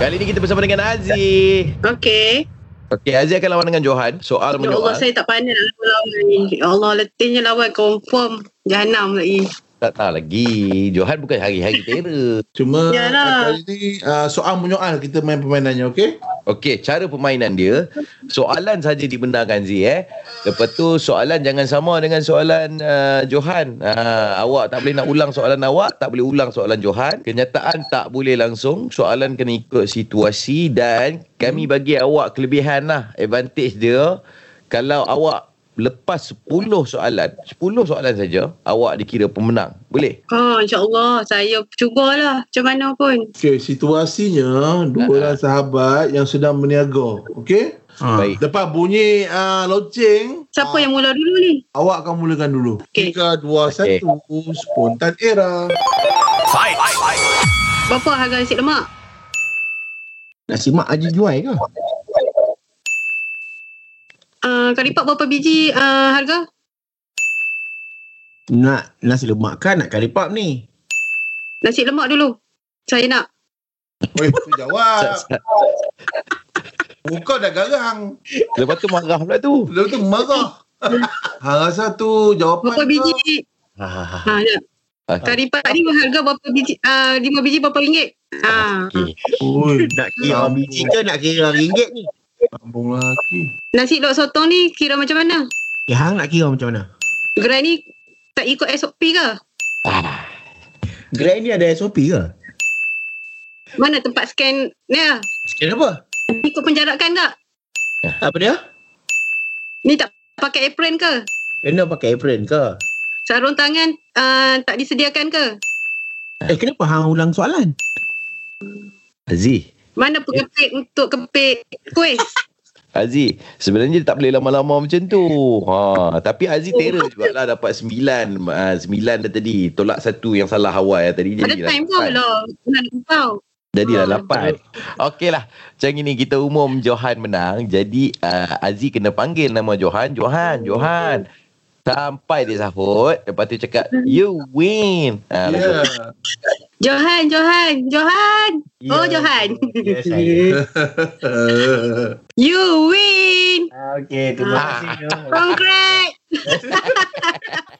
Kali ni kita bersama dengan Aziz. Okey. Okey, Aziz akan lawan dengan Johan. Soal Ya Allah, menyoal. saya tak pandai nak lawan ni. Ya Allah, letihnya lawan confirm jahanam lagi. Tak tahu lagi. Johan bukan hari-hari tera. Cuma Yalah. kali ni uh, soal menyoal kita main permainannya, okey? Okey, cara permainan dia, soalan saja dibenarkan Z eh. Lepas tu soalan jangan sama dengan soalan uh, Johan. Uh, awak tak boleh nak ulang soalan awak, tak boleh ulang soalan Johan. Kenyataan tak boleh langsung, soalan kena ikut situasi dan kami bagi awak kelebihan lah, advantage dia. Kalau awak lepas 10 soalan, 10 soalan saja, awak dikira pemenang. Boleh? Oh, insyaAllah. Saya cubalah macam mana pun. Okey, situasinya dua orang sahabat yang sedang berniaga, okey? Ha. Baik. Lepas bunyi uh, loceng, Siapa yang mula dulu ni? awak akan mulakan dulu. Okey. Tiga, dua, Okey. satu, spontan era. Berapa harga nasi lemak? Nasi mak Haji Juai ke? Uh, karipap berapa biji uh, harga? Nak nasi lemak kan nak karipap ni. Nasi lemak dulu. Saya nak. Oi, tu jawab. Muka dah garang. Lepas tu marah pula tu. Lepas tu marah. ha rasa tu jawapan Berapa tu. biji? Ha, ya. Karipap ni harga berapa biji? Uh, lima biji berapa ringgit? Ha. Okey. Oi, Nak kira Amboi. biji ke nak kira ringgit ni? sambung lagi. Nasi lok sotong ni kira macam mana? Ya hang nak kira macam mana? Gerai ni tak ikut SOP ke? Gerai ni ada SOP ke? Mana tempat scan dia? Sekian apa? Ikut penjarakan tak? Apa dia? Ni tak pakai apron ke? Kena pakai apron ke? Sarung tangan uh, tak disediakan ke? Eh kenapa hang ulang soalan? Aziz. Mana pengepit untuk kepit kuih? Aziz, sebenarnya dia tak boleh lama-lama macam tu. Ha, tapi Aziz terror juga lah dapat sembilan. Uh, sembilan dah tadi. Tolak satu yang salah awal yang tadi. Ada jadilah time kau lapan. lah. Nak kau. Jadilah Ha. lapan. Okey lah. Macam gini kita umum Johan menang. Jadi uh, Aziz kena panggil nama Johan. Johan, Johan. Sampai dia sahut. Lepas tu cakap, you win. Ha, yeah. Ya. Johan, Johan, Johan. Oh, Johan. Ya saya. You win. Ya. Ah, Okey, terima Ah. kasih. Johan. Congrats.